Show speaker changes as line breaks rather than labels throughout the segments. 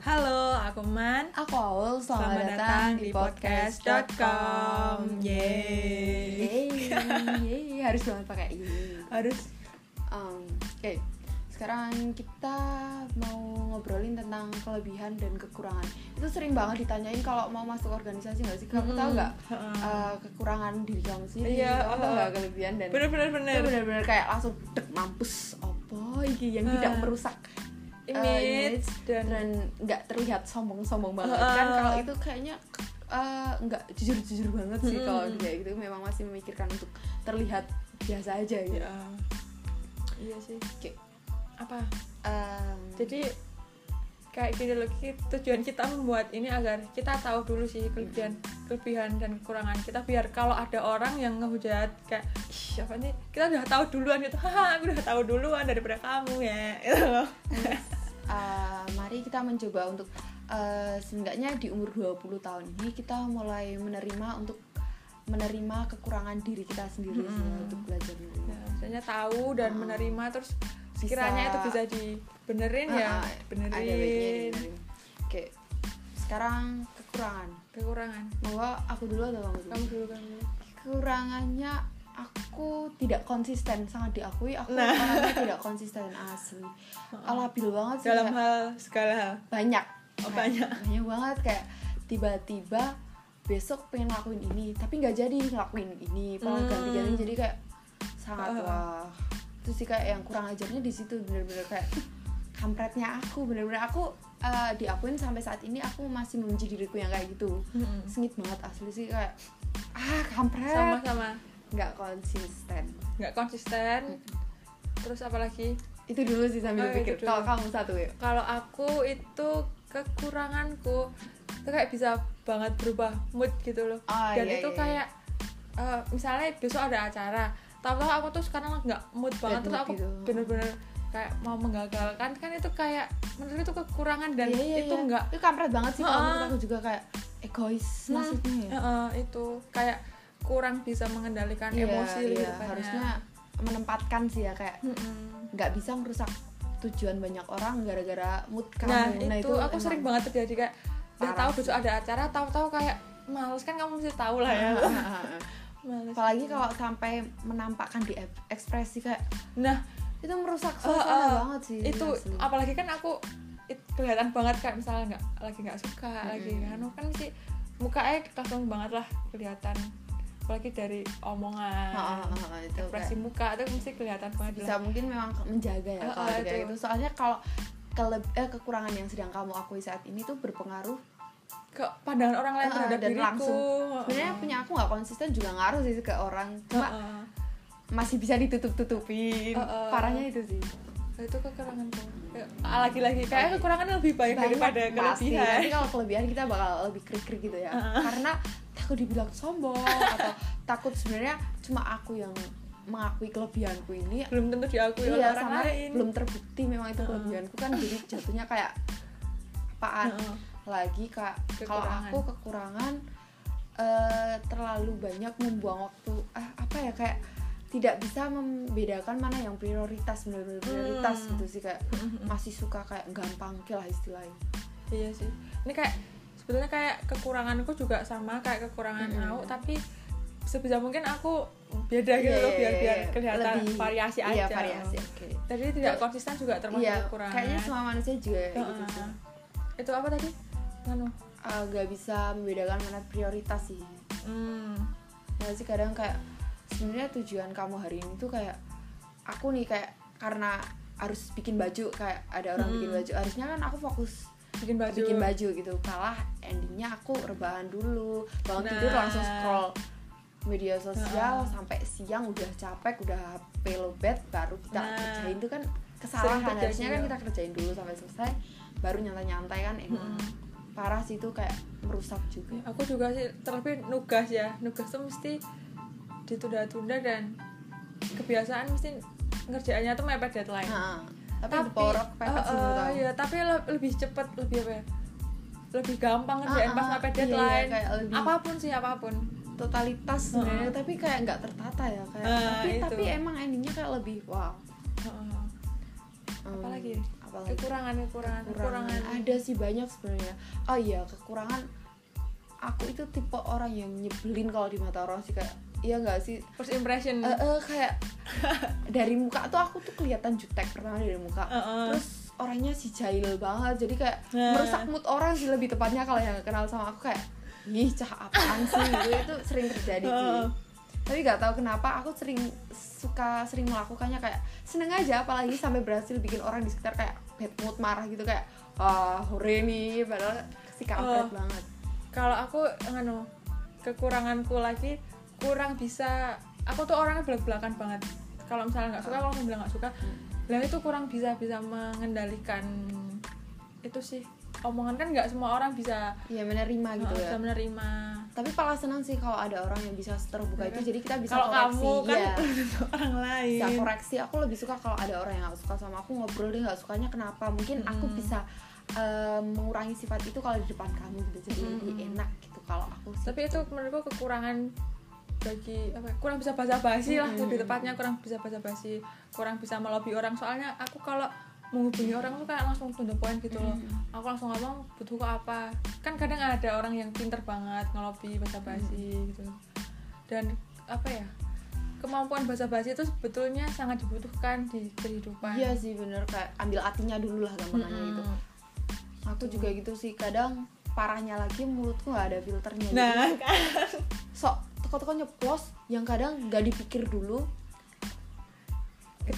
Halo, aku Man.
Aku Awul, selamat,
Selamat datang di podcast.com. Yeay.
Yeay, yeay, harus banget pakai yeay
Harus
um, Oke, sekarang kita mau ngobrolin tentang kelebihan dan kekurangan Itu sering banget ditanyain kalau mau masuk organisasi nggak sih? Kamu tahu nggak eh, kekurangan diri kamu sendiri?
Iya,
kamu tahu
eh.
nggak kelebihan dan
Bener-bener
itu
bener.
benar-benar kayak langsung dek mampus opo iki yang tidak
Eh.
merusak eh,
Image dan
dan nggak terlihat sombong-sombong banget
Eh.
kan kalau itu kayaknya eh, nggak jujur-jujur banget sih
Mm-mm.
kalau kayak gitu memang masih memikirkan untuk terlihat biasa aja gitu.
ya. Iya sih.
Oke.
Apa?
Em,
Jadi kayak gini loh ki- tujuan kita membuat ini agar kita tahu dulu sih kelebihan kelebihan dan kekurangan kita biar kalau ada orang yang ngehujat kayak "Ih, apa nih kita udah tahu duluan gitu haha aku udah tahu duluan daripada kamu ya gitu loh.
eh, mari kita mencoba untuk eh, seenggaknya di umur 20 tahun ini kita mulai menerima untuk menerima kekurangan diri kita sendiri sih,
Mm-mm.
untuk belajar menerima.
Ya, maksudnya tahu dan
Hmm.
menerima terus
Bisa-
sekiranya itu bisa dibenerin ya
Ah, ah,
benerin
ada baiknya dibenerin. oke sekarang kekurangan
kekurangan
monggo aku dulu atau kamu dulu
kamu dulu kamu
kekurangannya aku tidak konsisten sangat diakui aku
Nah.
orangnya tidak konsisten asli labil banget sih
dalam
kayak
hal segala hal
banyak
Oh,
Kayak
banyak.
banyak banget kayak tiba-tiba besok pengen ngelakuin ini tapi nggak jadi ngelakuin ini malah
Hmm.
ganti-ganti jadi kayak sangat
Ah.
wah terus sih kayak yang kurang ajarnya di situ bener-bener kayak kampretnya aku bener-bener aku eh, diakuin sampai saat ini aku masih membenci diriku yang kayak gitu
Hmm.
sengit banget asli sih kayak ah kampret
sama-sama
nggak konsisten
nggak konsisten terus apalagi
itu dulu sih sambil
Oh, itu
pikir
dulu.
kalau kamu satu ya
kalau aku itu kekuranganku itu kayak bisa banget berubah mood gitu loh
Ah,
dan
iya,
itu
iya,
kayak eh, misalnya besok ada acara tahu-tahu aku tuh sekarang nggak mood banget terus
mood
aku
gitu.
bener-bener kayak mau menggagalkan kan itu kayak menurut itu kekurangan dan
Iya, iya,
itu
iya.
nggak
itu kampret banget sih kalau
Heeh.
menurut aku juga kayak egois
Nah,
maksudnya ya
Heeh, itu kayak kurang bisa mengendalikan
Iya,
emosi
iya,
gitu kan ya.
harusnya menempatkan sih ya kayak
Mm-mm.
nggak bisa merusak tujuan banyak orang gara-gara mood kamu
nah, itu, aku
emang-
sering banget terjadi kayak udah
Parah
tahu besok ada acara tahu-tahu kayak males kan kamu mesti tahu lah ya males
apalagi kalau sampai menampakkan di ep- ekspresi kayak
nah
itu merusak
Oh,
suasana
oh.
banget sih
itu
asli.
apalagi kan aku it- kelihatan banget kayak misalnya nggak lagi nggak suka lagi
Mm-mm.
anu kan sih mukanya langsung banget lah kelihatan apalagi dari omongan
Ah, ah, ah, ah, itu
ekspresi muka itu mesti kelihatan banget
bisa mungkin memang menjaga ya
Oh,
kalau
oh,
ada kayak
itu.
gitu soalnya kalau kele- eh, kekurangan yang sedang kamu akui saat ini tuh berpengaruh
ke pandangan orang lain
Ah,
terhadap
dan
diriku
langsung.
Heeh.
sebenarnya punya aku nggak konsisten juga ngaruh sih ke orang cuma
Heeh.
masih bisa ditutup tutupin
Oh, oh.
parahnya itu sih
Nah, itu kekurangan tuh Ya, lagi-lagi kayak kekurangan lebih banyak, daripada
Hmm. Banyak, pasti.
kelebihan
tapi kalau kelebihan kita bakal lebih krik krik gitu ya karena takut dibilang sombong atau takut sebenarnya cuma aku yang mengakui kelebihanku ini
belum tentu diakui oleh
iya
orang
sama
lain
belum terbukti memang itu
Heeh.
kelebihanku kan jadi jatuhnya kayak apaan
Heeh.
lagi kak kalau
Kekurangan.
aku kekurangan eh, terlalu banyak membuang waktu ah, apa ya kayak tidak bisa membedakan mana yang prioritas benar-benar prioritas
Hmm.
gitu sih kayak masih suka kayak gampang kill lah istilahnya
iya sih ini kayak sebenarnya kayak kekuranganku juga sama kayak kekurangan
Mm-mm.
aku tapi sebisa mungkin aku beda gitu
Iya,
loh biar
iya,
biar
iya.
kelihatan
Lebih-
variasi aja
iya variasi oke
jadi tidak konsisten juga termasuk
iya
kekurangan
kayaknya semua manusia juga kayak gitu
Heeh.
sih
itu apa tadi anu
Ah, nggak bisa membedakan mana prioritas sih
hmm,
Nah sih kadang kayak sebenarnya tujuan kamu hari ini tuh kayak aku nih kayak karena harus bikin baju kayak ada orang
Hmm.
bikin baju harusnya kan aku fokus
bikin baju
bikin baju gitu kalah endingnya aku rebahan dulu bangun
Nah.
tidur langsung scroll media sosial
Heeh.
sampai siang udah capek udah HP lowbat baru kita
Nah.
kerjain itu kan kesalahan
terjadi,
harusnya kan
ya.
kita kerjain dulu sampai selesai baru nyantai-nyantai kan enak
Mm-mm.
parah sih itu kayak merusak juga
Ya, aku juga sih terlebih nugas ya nugas tuh mesti ditunda-tunda dan kebiasaan mesti ngerjaannya tuh mepet deadline
Heeh. tapi, tapi porok pepet sih
eh,
menurut
eh,
aku.
iya, tapi le- lebih cepet lebih apa ya lebih gampang ngerjain
Ah,
pas
ah, iya,
mepet
iya,
deadline
kayak lebih-
apapun sih apapun
totalitas sebenarnya tapi kayak nggak tertata ya kayak
Ah,
tapi
itu.
tapi emang endingnya kayak lebih wow
Heeh.
Hmm,
Apalagi?
apa apalagi
kekurangan kekurangan
kekurangan
kekurangan
ada sih banyak sebenarnya oh iya kekurangan aku itu tipe orang yang nyebelin kalau di mata orang sih kayak iya nggak sih
first impression
Eh, eh, kayak dari muka tuh aku tuh kelihatan jutek pertama dari muka
Heeh.
terus orangnya si jahil banget jadi kayak
Nah.
merusak mood orang sih lebih tepatnya kalau yang kenal sama aku kayak ih cah apaan sih gitu itu sering terjadi sih
Heeh.
tapi nggak tahu kenapa aku sering suka sering melakukannya kayak seneng aja apalagi sampai berhasil bikin orang di sekitar kayak bad mood marah gitu kayak ah hore nih padahal si kampret
Oh.
banget
kalau aku nganu kekuranganku lagi kurang bisa aku tuh orangnya belak-belakan banget kalau misalnya nggak suka kalau aku bilang nggak suka
Hmm.
lah itu kurang bisa bisa mengendalikan itu sih omongan kan nggak semua orang bisa
ya menerima gitu
uh,
ya
bisa menerima
tapi pala senang sih kalau ada orang yang bisa terbuka
Ya
itu
kan?
jadi kita bisa
kalau
koreksi
kamu kan
Iya.
orang lain
bisa koreksi aku lebih suka kalau ada orang yang gak suka sama aku ngobrol dia nggak sukanya kenapa mungkin aku
Mm-mm.
bisa eh, mengurangi sifat itu kalau di depan kamu gitu jadi lebih
Mm-mm.
enak gitu kalau aku sih.
Hmm, tapi itu menurutku kekurangan bagi apa ya, kurang bisa bahasa basi lah
Mm-mm.
lebih tepatnya kurang bisa bahasa basi kurang bisa melobi orang soalnya aku kalau menghubungi orang tuh kayak langsung to the point gitu loh
Mm-mm.
aku langsung ngomong butuh kok apa kan kadang ada orang yang pinter banget ngelobi bahasa basi gitu dan apa ya kemampuan bahasa basi itu sebetulnya sangat dibutuhkan di kehidupan Nah,
iya sih bener kayak ambil artinya dulu lah gampangannya
Mm-mm.
gitu
hmm.
aku juga gitu sih kadang parahnya lagi mulutku nggak ada filternya
nah
jadi sok teko-teko nyeplos yang kadang nggak dipikir dulu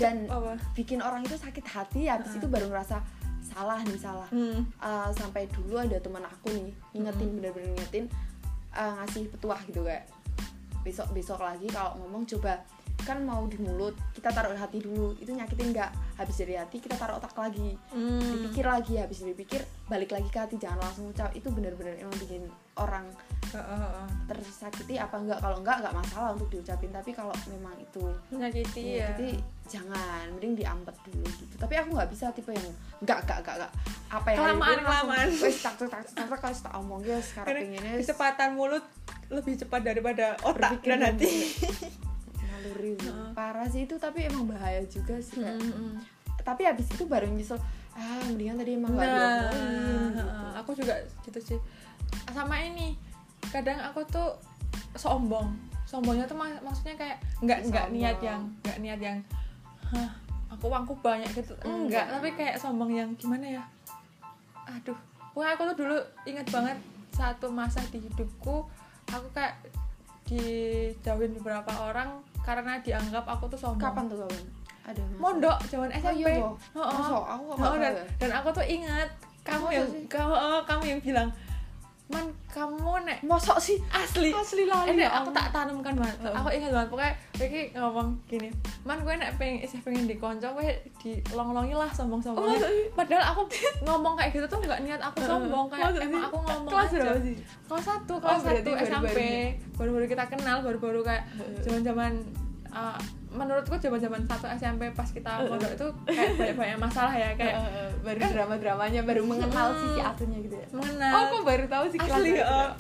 dan
apa
bikin orang itu sakit hati habis itu baru ngerasa salah nih salah
hmm.
Uh, sampai dulu ada teman aku nih ngingetin bener-bener ngingetin uh, ngasih petuah gitu kayak besok besok lagi kalau ngomong coba kan mau di mulut kita taruh hati dulu itu nyakitin nggak habis dari hati kita taruh otak lagi
Hmm.
dipikir lagi habis dipikir balik lagi ke hati jangan langsung ucap itu bener-bener emang bikin orang
Heeh, heeh.
tersakiti apa enggak kalau enggak enggak masalah untuk diucapin tapi kalau memang itu
menyakiti ya
jadi jangan mending diampet dulu gitu tapi aku nggak bisa tipe yang nggak nggak nggak nggak apa yang
Kelamaan, kelamaan.
wes tak tak tak tak tak kalau tak omong ya sekarang
Karena
pengennya wis
kecepatan mulut lebih cepat daripada otak
berpikir
dan hati.
naluri
Heeh. Hmm.
parah sih itu tapi emang bahaya juga sih Kak. tapi habis itu baru nyesel ah mendingan tadi emang nggak
Nah,
diomongin gitu
aku juga gitu sih. Sama ini, kadang aku tuh sombong. Sombongnya tuh mak- maksudnya kayak nggak nggak
Sombong.
niat yang nggak niat yang, hah, aku uangku banyak gitu.
Enggak.
Enggak, tapi kayak sombong yang gimana ya? Aduh, pokoknya aku tuh dulu inget banget satu masa di hidupku, aku kayak dijauhin beberapa orang karena dianggap aku tuh sombong.
kapan tuh kapan ada masa?
mondok zaman SMP.
iya, Bo.
Heeh.
Masa? aku kok
Oh,
nggak
dan,
tahu ya
dan aku tuh ingat kamu
Masa
yang
sih?
kamu oh, kamu yang bilang man kamu nek
mosok sih
asli
asli lali
ini
ya
aku
ampun.
tak tanamkan banget
Heeh.
aku ingat banget pokoknya Vicky ngomong gini man gue nek pengen isih pengen dikonco gue dilong-longi lah
Oh,
sombong-sombongnya
masa sih?
padahal aku ngomong kayak gitu tuh nggak niat aku sombong kayak
Masa sih?
emang aku ngomong
kelas
aja
berapa sih
kelas satu
Oh,
kelas
berarti
satu
baru-baru
SMP
ini.
baru-baru kita kenal baru-baru kayak
Heeh.
zaman-zaman uh, menurutku zaman-zaman satu SMP pas kita
Heeh.
pondok itu kayak banyak-banyak masalah ya kayak
Eh, baru drama-dramanya baru mengenal
Hmm.
sisi aslinya gitu ya
mengenal
Oh, kok baru tahu sih kelas
asli
berapa?
oh.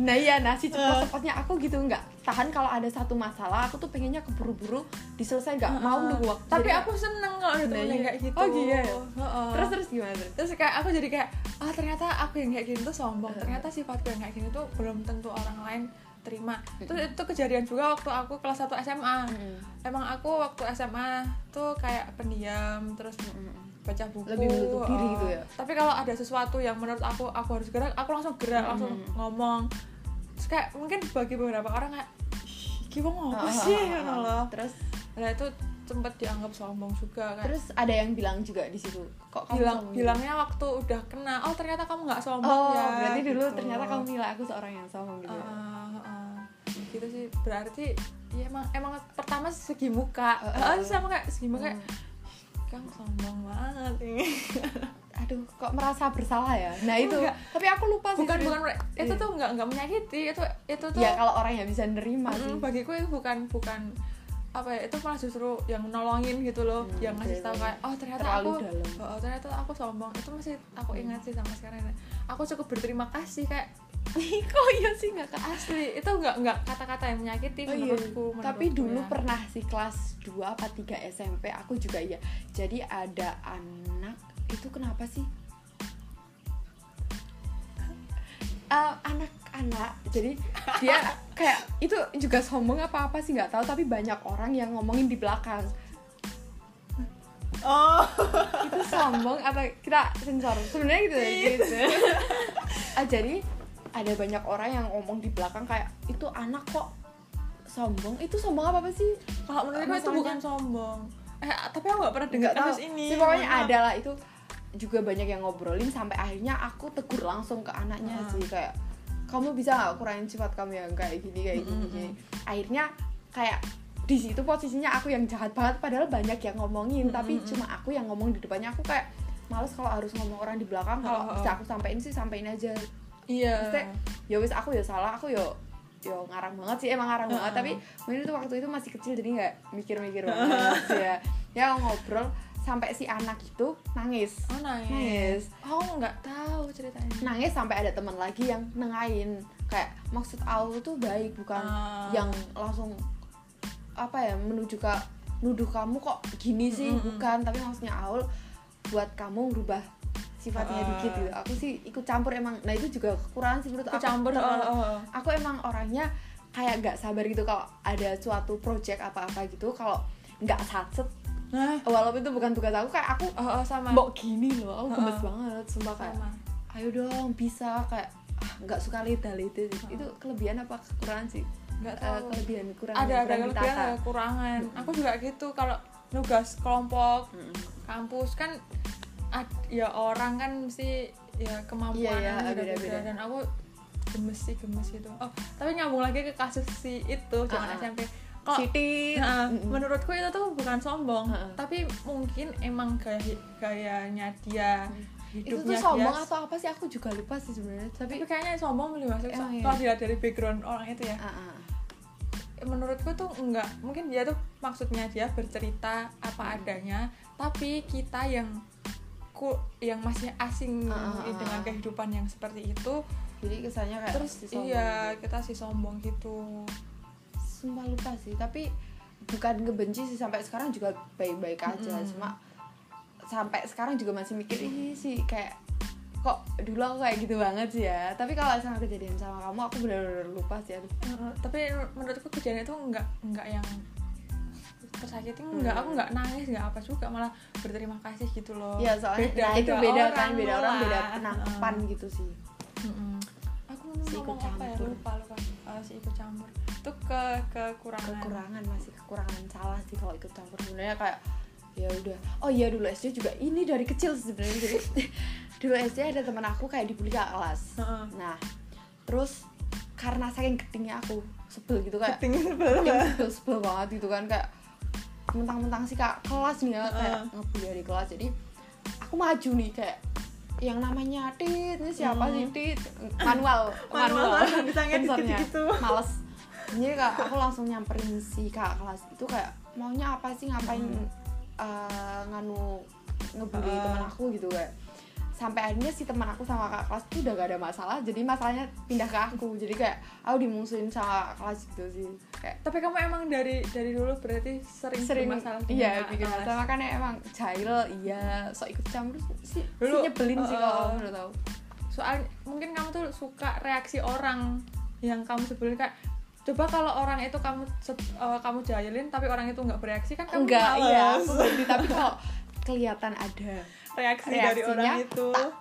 Nah iya, nah si
Eh.
cepet-cepetnya aku gitu nggak tahan kalau ada satu masalah, aku tuh pengennya keburu-buru diselesai
eh,
nggak mau nunggu waktu.
tapi
Jadi,
aku ya? seneng kalau ada
Nah,
temen yang
iya.
kayak gitu
Oh, iya ya?
Heeh.
terus
terus
terus gimana terus?
terus kayak aku jadi kayak ah ternyata aku yang kayak gini tuh sombong
Heeh.
ternyata sifatku yang kayak gini tuh belum tentu orang lain terima terus itu kejadian juga waktu aku kelas 1 SMA emang aku waktu SMA tuh kayak pendiam terus baca buku
Lebih menutup diri
eh,
gitu ya?
tapi kalau ada sesuatu yang menurut aku aku harus gerak aku langsung gerak
Mm.
langsung ngomong terus kayak mungkin bagi beberapa orang kayak gimana apa
Ah,
sih
ah,
Ya
ah,
ngono
ah.
loh
Terus
nah itu sempet dianggap sombong juga kayak
terus ada yang bilang juga di situ. Kok kamu
bilang
sombong?
bilangnya waktu udah kena oh ternyata kamu nggak sombong
Oh,
ya
berarti dulu
gitu.
ternyata kamu nilai aku seorang yang sombong gitu.
Ah,
ya?
ah, ah. gitu sih berarti ya emang emang pertama segi muka
Ah, ah.
Ah, terus sama kayak segi muka
Hmm.
kamu sombong banget
Aduh, kok merasa bersalah ya? Nah itu.
Enggak.
Tapi aku lupa sih.
bukan
serius.
bukan mer-
Iya.
itu tuh nggak nggak menyakiti itu itu tuh
Ya kalau orang yang bisa nerima sih.
mm, bagiku itu bukan bukan apa ya itu malah justru yang nolongin gitu loh
Hmm,
yang ngasih tahu
bener-bener.
kayak oh ternyata
Terlalu
aku
dalam. Hmm.
oh, ternyata aku sombong itu masih aku ingat sih sama sekarang aku cukup berterima kasih kayak
kok iya sih nggak ke
asli itu nggak nggak kata-kata yang menyakiti
Oh iya.
menurutku
Tapi
menurutku
dulu
ya.
pernah sih kelas 2 apa 3 SMP aku juga iya. Jadi ada anak itu kenapa sih? Eh, anak-anak jadi dia kayak itu juga sombong apa apa sih nggak tahu tapi banyak orang yang ngomongin di belakang
oh
itu sombong atau kita sensor sebenarnya gitu ya,
Iya.
gitu ah, jadi ada banyak orang yang ngomong di belakang kayak itu anak kok sombong itu sombong apa apa sih
kalau menurutku itu
Masalahnya-
bukan sombong eh tapi aku nggak pernah dengar
nggak tahu
kasus ini
Tapi pokoknya
mohon maaf.
ada lah itu juga banyak yang ngobrolin sampai akhirnya aku tegur langsung ke anaknya
Ah.
sih kayak kamu bisa nggak kurangin sifat kamu yang kayak gini kayak gini,
Mm-mm.
gini. akhirnya kayak di situ posisinya aku yang jahat banget padahal banyak yang ngomongin tapi
Mm-mm.
cuma aku yang ngomong di depannya aku kayak males kalau harus ngomong orang di belakang kalau
Oh, oh,
bisa
oh.
aku sampein sih sampein aja
iya
Maksudnya, ya wis aku ya salah aku ya ya ngarang banget sih emang ngarang banget
Heeh.
tapi mungkin itu waktu itu masih kecil jadi nggak mikir-mikir banget ya ya ngobrol sampai si anak itu nangis
oh nangis
nangis
oh nggak tahu ceritanya
nangis sampai ada teman lagi yang nengahin kayak maksud aku tuh baik bukan
Ah.
yang langsung apa ya menuju ke nuduh kamu kok gini sih
Mm-mm.
bukan tapi maksudnya Aul buat kamu berubah sifatnya
Ah.
dikit gitu aku sih ikut campur emang nah itu juga kekurangan sih menurut
aku
aku
campur oh,
Terlalu-
oh, oh.
aku emang orangnya kayak nggak sabar gitu kalau ada suatu project apa-apa gitu kalau nggak satset
nah
walaupun itu bukan tugas aku kayak aku
oh, oh sama
mbok gini loh aku gemes
Heeh.
banget sumpah kayak
sama
ayo dong bisa kayak ah, nggak suka leda leda itu kelebihan apa kekurangan sih
nggak
Eh,
tahu
kelebihan kekurangan
ada ada
kurang
kelebihan
ditata.
ada kekurangan
Mm-mm.
aku juga gitu kalau nugas kelompok
Mm-mm.
kampus kan ad- ya orang kan mesti ya kemampuan
Iya, iya, beda-beda.
dan aku gemes sih gemes gitu oh tapi nyambung lagi ke kasus si itu
Ah,
jangan
ah.
SMP kalau
Siti
Nah,
Mm-mm. Ah,
menurutku itu tuh bukan sombong
Heeh.
tapi mungkin emang gaya gayanya dia
Hmm. itu
hidupnya
tuh sombong
dia
atau apa sih aku juga lupa sih sebenarnya tapi
tapi kayaknya sombong belum masuk
Emang iya?
kalau dilihat dari background orang itu ya
Ah, ah.
menurutku tuh enggak mungkin dia tuh maksudnya dia bercerita apa adanya tapi kita yang ku yang masih asing
Ah, ah, ah.
dengan kehidupan yang seperti itu
jadi kesannya kayak
terus
si sombong
iya
gitu.
kita si sombong gitu
sumpah lupa sih tapi bukan ngebenci sih sampai sekarang juga baik-baik aja
Mm-mm.
cuma sampai sekarang juga masih mikir ini sih kayak kok dulu aku kayak gitu banget sih ya tapi kalau sama kejadian sama kamu aku benar-benar lupa sih aduh.
Heeh, tapi menurutku kejadian itu enggak enggak yang tersakiti enggak
Hmm.
aku enggak nangis enggak apa juga malah berterima kasih gitu loh
Iya soalnya
Beda-
nah itu
beda
beda
orang
kan beda orang beda
malah. Ah.
penangkapan gitu sih
Mm-mm. aku mau
Si
ngomong
ikut
apa ya
campur.
lupa lupa kalau si ikut campur itu ke kekurangan
kekurangan masih kekurangan salah sih kalau ikut campur sebenarnya kayak ya udah oh iya dulu SD juga ini dari kecil sih sebenarnya jadi dulu SD ada teman aku kayak dibully kakak kelas
Heeh.
nah terus karena saking ketingnya aku sebel gitu kayak
Keting sebelum
yang sebel-sebel banget gitu kan kayak mentang-mentang sih kak kelas nih ya kayak
Heeh.
ngebully dari kelas jadi aku maju nih kayak yang namanya Tit ini siapa
Hmm.
sih Tit manual
Manual, manual, ditanya
sensornya.
gitu-gitu.
males jadi kayak aku langsung nyamperin si kak kelas itu kayak maunya apa sih ngapain
Hmm.
eh, nganu ngebully
Heeh.
teman aku gitu kayak sampai akhirnya si teman aku sama kakak kelas itu udah gak ada masalah jadi masalahnya pindah ke aku jadi kayak aku dimusuhin sama kakak kelas gitu sih kayak
tapi kamu emang dari dari dulu berarti sering,
sering
bermasalah dengan
iya
kakak
bikin
kelas.
masalah makanya emang jahil iya sok ikut campur sih si
Dulu,
nyebelin sih
uh,
kalau menurut aku
soal mungkin kamu tuh suka reaksi orang yang kamu sebelin kayak coba kalau orang itu kamu se- eh, kamu jahilin tapi orang itu nggak bereaksi kan kamu
enggak
males.
iya aku ngerti tapi kalau kelihatan ada
reaksi dari
Reaksinya
orang itu
tak-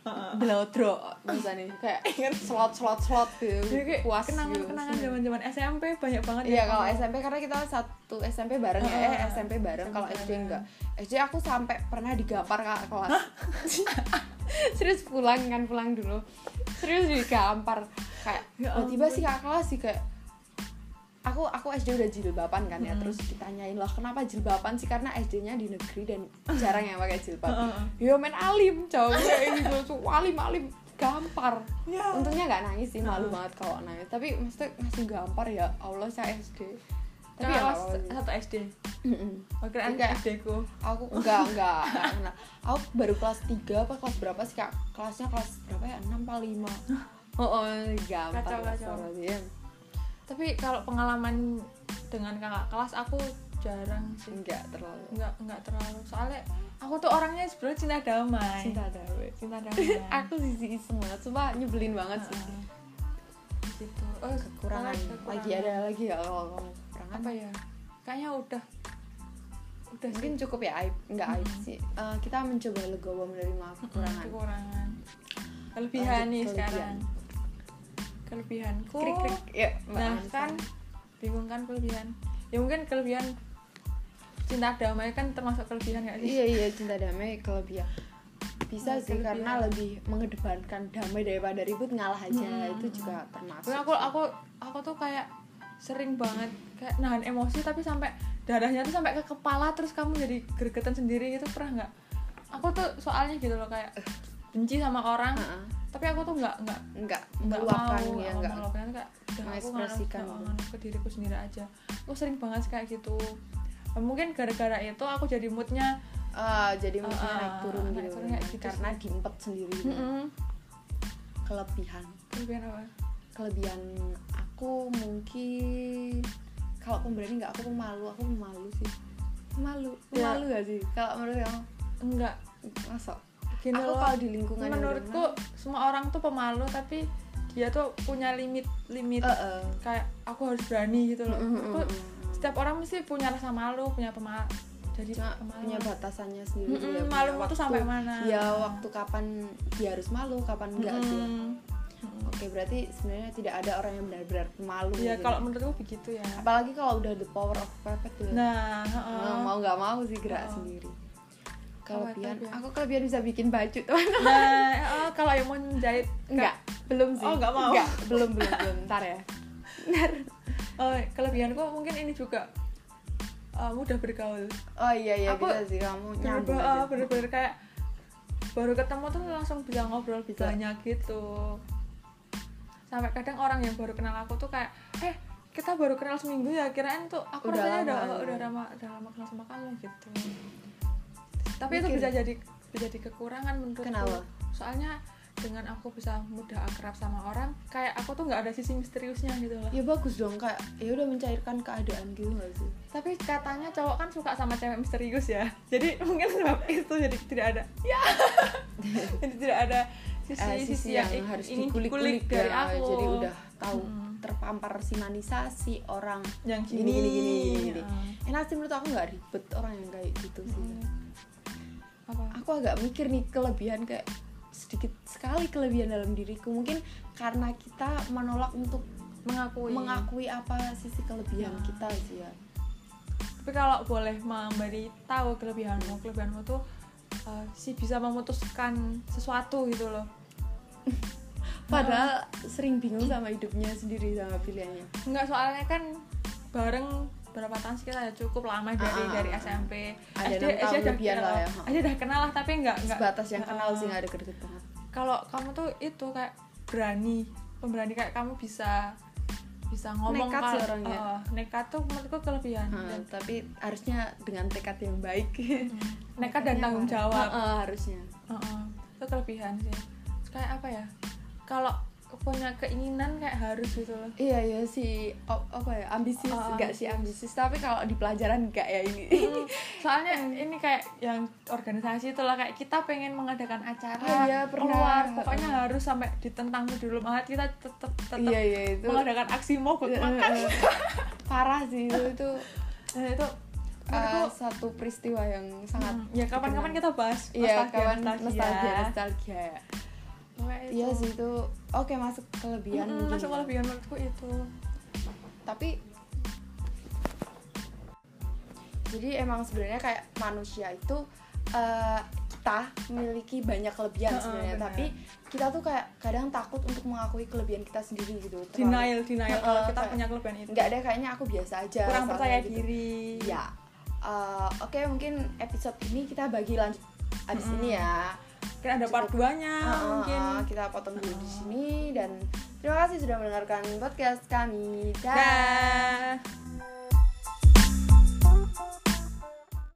Heeh.
belodro bisa nih kayak slot slot slot gitu
Jadi kayak
puas gitu.
kenangan-kenangan zaman-zaman SMP banyak banget
Iya kalau
kamu-
SMP karena kita satu SMP bareng ya, eh
Heeh.
SMP bareng kalau
SMP
SD enggak.
bareng.
SD aku sampai pernah digampar kakak kelas. Serius pulang kan pulang dulu. Serius digampar kayak
Ya
tiba-tiba
ampun.
sih kakak kelas sih kayak aku aku SD udah jilbaban kan ya
Mm-mm.
terus ditanyain lah kenapa jilbaban sih karena SD-nya di negeri dan jarang yang pakai jilbab.
Heeh.
Yo men alim jauh gitu alim alim gampar
Ya.
untungnya nggak nangis sih malu
Heeh.
banget kalau nangis tapi maksudnya masih gampar ya Allah saya SD tapi
Kakak
ya nggak apa-apa
kelas
sih.
satu SD
Mm-mm.
oh, kirain
Enggak.
SD ku
aku enggak enggak enggak kenal. aku baru kelas 3 apa kelas berapa sih kak kelasnya kelas berapa ya 6 apa 5 oh, oh gampang
Kacau,
lah,
kacau.
sorot, ya.
tapi kalau pengalaman dengan kakak kelas aku jarang sih
enggak terlalu
nggak nggak terlalu soalnya aku tuh orangnya sebenarnya cinta damai
cinta damai
cinta damai
aku sih iseng banget sumpah nyebelin banget sih
Heeh. gitu oh
kekurangan
soalnya
lagi ada lagi ya kalau ngomong kekurangan
apa ya kayaknya udah udah
mungkin cukup ya aib nggak aib
Mm-mm.
sih Eh, kita mencoba legowo menerima
sih
kekurangan
kekurangan kelebihan
Lanjut,
nih
kelebihan.
sekarang kelebihanku
krik krik ya Mbak
nah
Anissa.
kan bingung kan kelebihan ya mungkin kelebihan cinta damai kan termasuk kelebihan gak sih
iya iya cinta damai kelebihan bisa
Hmm,
sih
kelebihan.
karena lebih mengedepankan damai daripada ribut ngalah aja
Hmm,
itu juga termasuk
Tapi Nah, aku aku aku tuh kayak sering banget kayak nahan emosi tapi sampai darahnya tuh sampai ke kepala terus kamu jadi gregetan sendiri gitu pernah nggak? Aku tuh soalnya gitu loh kayak benci sama orang
Heeh.
tapi aku tuh nggak nggak
nggak
nggak
Ah. meluapkan
mau,
ya
aku
nggak
meluapkan kayak udah aku
mengekspresikan
nganut-
gitu.
nganut ke diriku sendiri aja aku sering banget kayak gitu mungkin gara-gara itu aku jadi moodnya
Eh, jadi
Ah,
maksudnya
ah,
naik turun
naik
gitu,
turun kayak gitu
karena diempet sendiri
mm
kelebihan
apa
kelebihan aku mungkin kalau pemberani nggak aku pemalu aku pemalu sih pemalu
Ya.
pemalu gak sih kalau menurut kamu
enggak
masa
gini
aku
loh.
kalau di lingkungan yang
menurutku semua orang tuh pemalu tapi dia tuh punya limit limit
bener- Eh, eh.
kayak aku harus berani gitu loh
Mm, mm, mm,
aku,
mm.
setiap orang mesti punya rasa malu punya pemalu jadi
cuma
pemalu
punya batasannya sendiri
Mm-mm,
ya, punya
malu tuh
waktu-
sampai mana
ya waktu kapan dia harus malu kapan enggak dia
Mm-mm. Mm-mm.
oke berarti sebenarnya tidak ada orang yang benar-benar malu gitu.
ya kalau menurutku begitu ya
apalagi kalau udah the power of perfect tuh ya.
nah eh,
Nah,
heeh.
mau nggak mau sih gerak
Heeh.
sendiri
Apa
kelebihan
kelebihan?
aku kelebihan bisa bikin baju teman
nah heeh, kalau yang mau menjahit
enggak belum sih
Oh, nggak mau.
Nggak, belum belum belum ntar ya ntar
oh, kelebihanku mungkin ini juga eh, mudah bergaul
oh iya iya
Aku
bisa sih kamu nyambung
bener-bener
aja
ah, bener-bener kayak baru ketemu tuh langsung bisa ngobrol
Bisa.
banyak gitu sampai kadang orang yang baru kenal aku tuh kayak eh kita baru kenal seminggu ya kirain tuh aku
Udah
rasanya
lama ya.
udah udah lama udah lama kenal sama kamu gitu tapi itu
Mungkin.
bisa jadi bisa jadi kekurangan menurutku
Kenapa?
soalnya dengan aku bisa mudah akrab sama orang kayak aku tuh nggak ada sisi misteriusnya gitu loh
ya bagus dong kak ya udah mencairkan keadaan gitu nggak sih
tapi katanya cowok kan suka sama cewek misterius ya jadi mungkin sebab itu jadi tidak ada ya jadi tidak ada sisi
Eh,
sisi, yang,
harus
ingin
dikulik-kulik
dari
ya,
aku
jadi udah tahu
Mm-mm.
terpampar si manisasi orang
yang
gini
gini
gini gini, gini.
Heeh.
enak sih menurut aku nggak ribet orang yang kayak gitu sih
Mm-mm. apa
aku agak mikir nih kelebihan kayak sedikit sekali kelebihan dalam diriku mungkin karena kita menolak untuk
mengakui
mengakui apa sisi kelebihan
Oh, iya. Nah.
kita sih ya
tapi kalau boleh memberi tahu kelebihanmu kelebihanmu tuh eh, sih bisa memutuskan sesuatu gitu loh
padahal sering bingung sama hidupnya sendiri sama pilihannya
Enggak soalnya kan bareng berapa tahun sih kita ya cukup lama dari
Ah,
dari
ah, ah.
SMP.
Ada
SD,
enam tahun
udah
lebihan
kenal.
lah ya.
SD udah kenal lah tapi enggak enggak
sebatas yang kenal
Heeh.
sih nggak ada deket banget
Kalau kamu tuh itu kayak berani, pemberani kayak kamu bisa bisa ngomong
Nekat
kalau-
sih orangnya. Hmm.
Heeh, nekat tuh menurutku kelebihan.
Heeh,
Dan-
Nah,
hmm.
tapi harusnya dengan tekad yang baik Iya.
nekat dan tanggung jawab.
Heeh, harusnya
Heeh, itu kelebihan sih. Terus kayak apa ya? Kalau punya keinginan kayak harus gitu loh.
iya iya sih op- apa ya ambisius
Oh,
enggak sih ambisius tapi kalau di pelajaran enggak ya ini
Mm, soalnya
Hmm.
ini kayak yang organisasi itulah kayak kita pengen mengadakan acara
Ah, iya, pernah.
keluar pokoknya harus sampai ditentang dulu banget kita tetap tetap
iya iya itu
mengadakan aksi mogok makan
Eh, eh, parah sih itu itu
nah itu
eh,
menurutku
satu peristiwa yang sangat
mm, ya kapan-kapan kita bahas
Hmm. iya kawan
nostalgia.
nostalgia nostalgia ya.
Pokoknya itu.
iya sih itu oke masuk kelebihan
Mm,
mungkin
masuk
ya.
kelebihan menurutku itu
tapi jadi emang sebenarnya kayak manusia itu eh, kita memiliki banyak kelebihan
Heeh,
sebenarnya
benar.
tapi kita tuh kayak kadang takut untuk mengakui kelebihan kita sendiri gitu Terlalu-
denial denial
Heeh,
kalau kita
kayak-
punya kelebihan itu
nggak ada kayaknya aku biasa aja
kurang
soalnya
percaya
gitu.
diri
ya Eh, oke mungkin episode ini kita bagi lanjut abis
Mm-mm.
ini ya
mungkin ada part
Cukup.
2 nya
Ah, ah,
mungkin
ah, kita potong dulu di sini dan terima kasih sudah mendengarkan podcast kami. Dah.
dah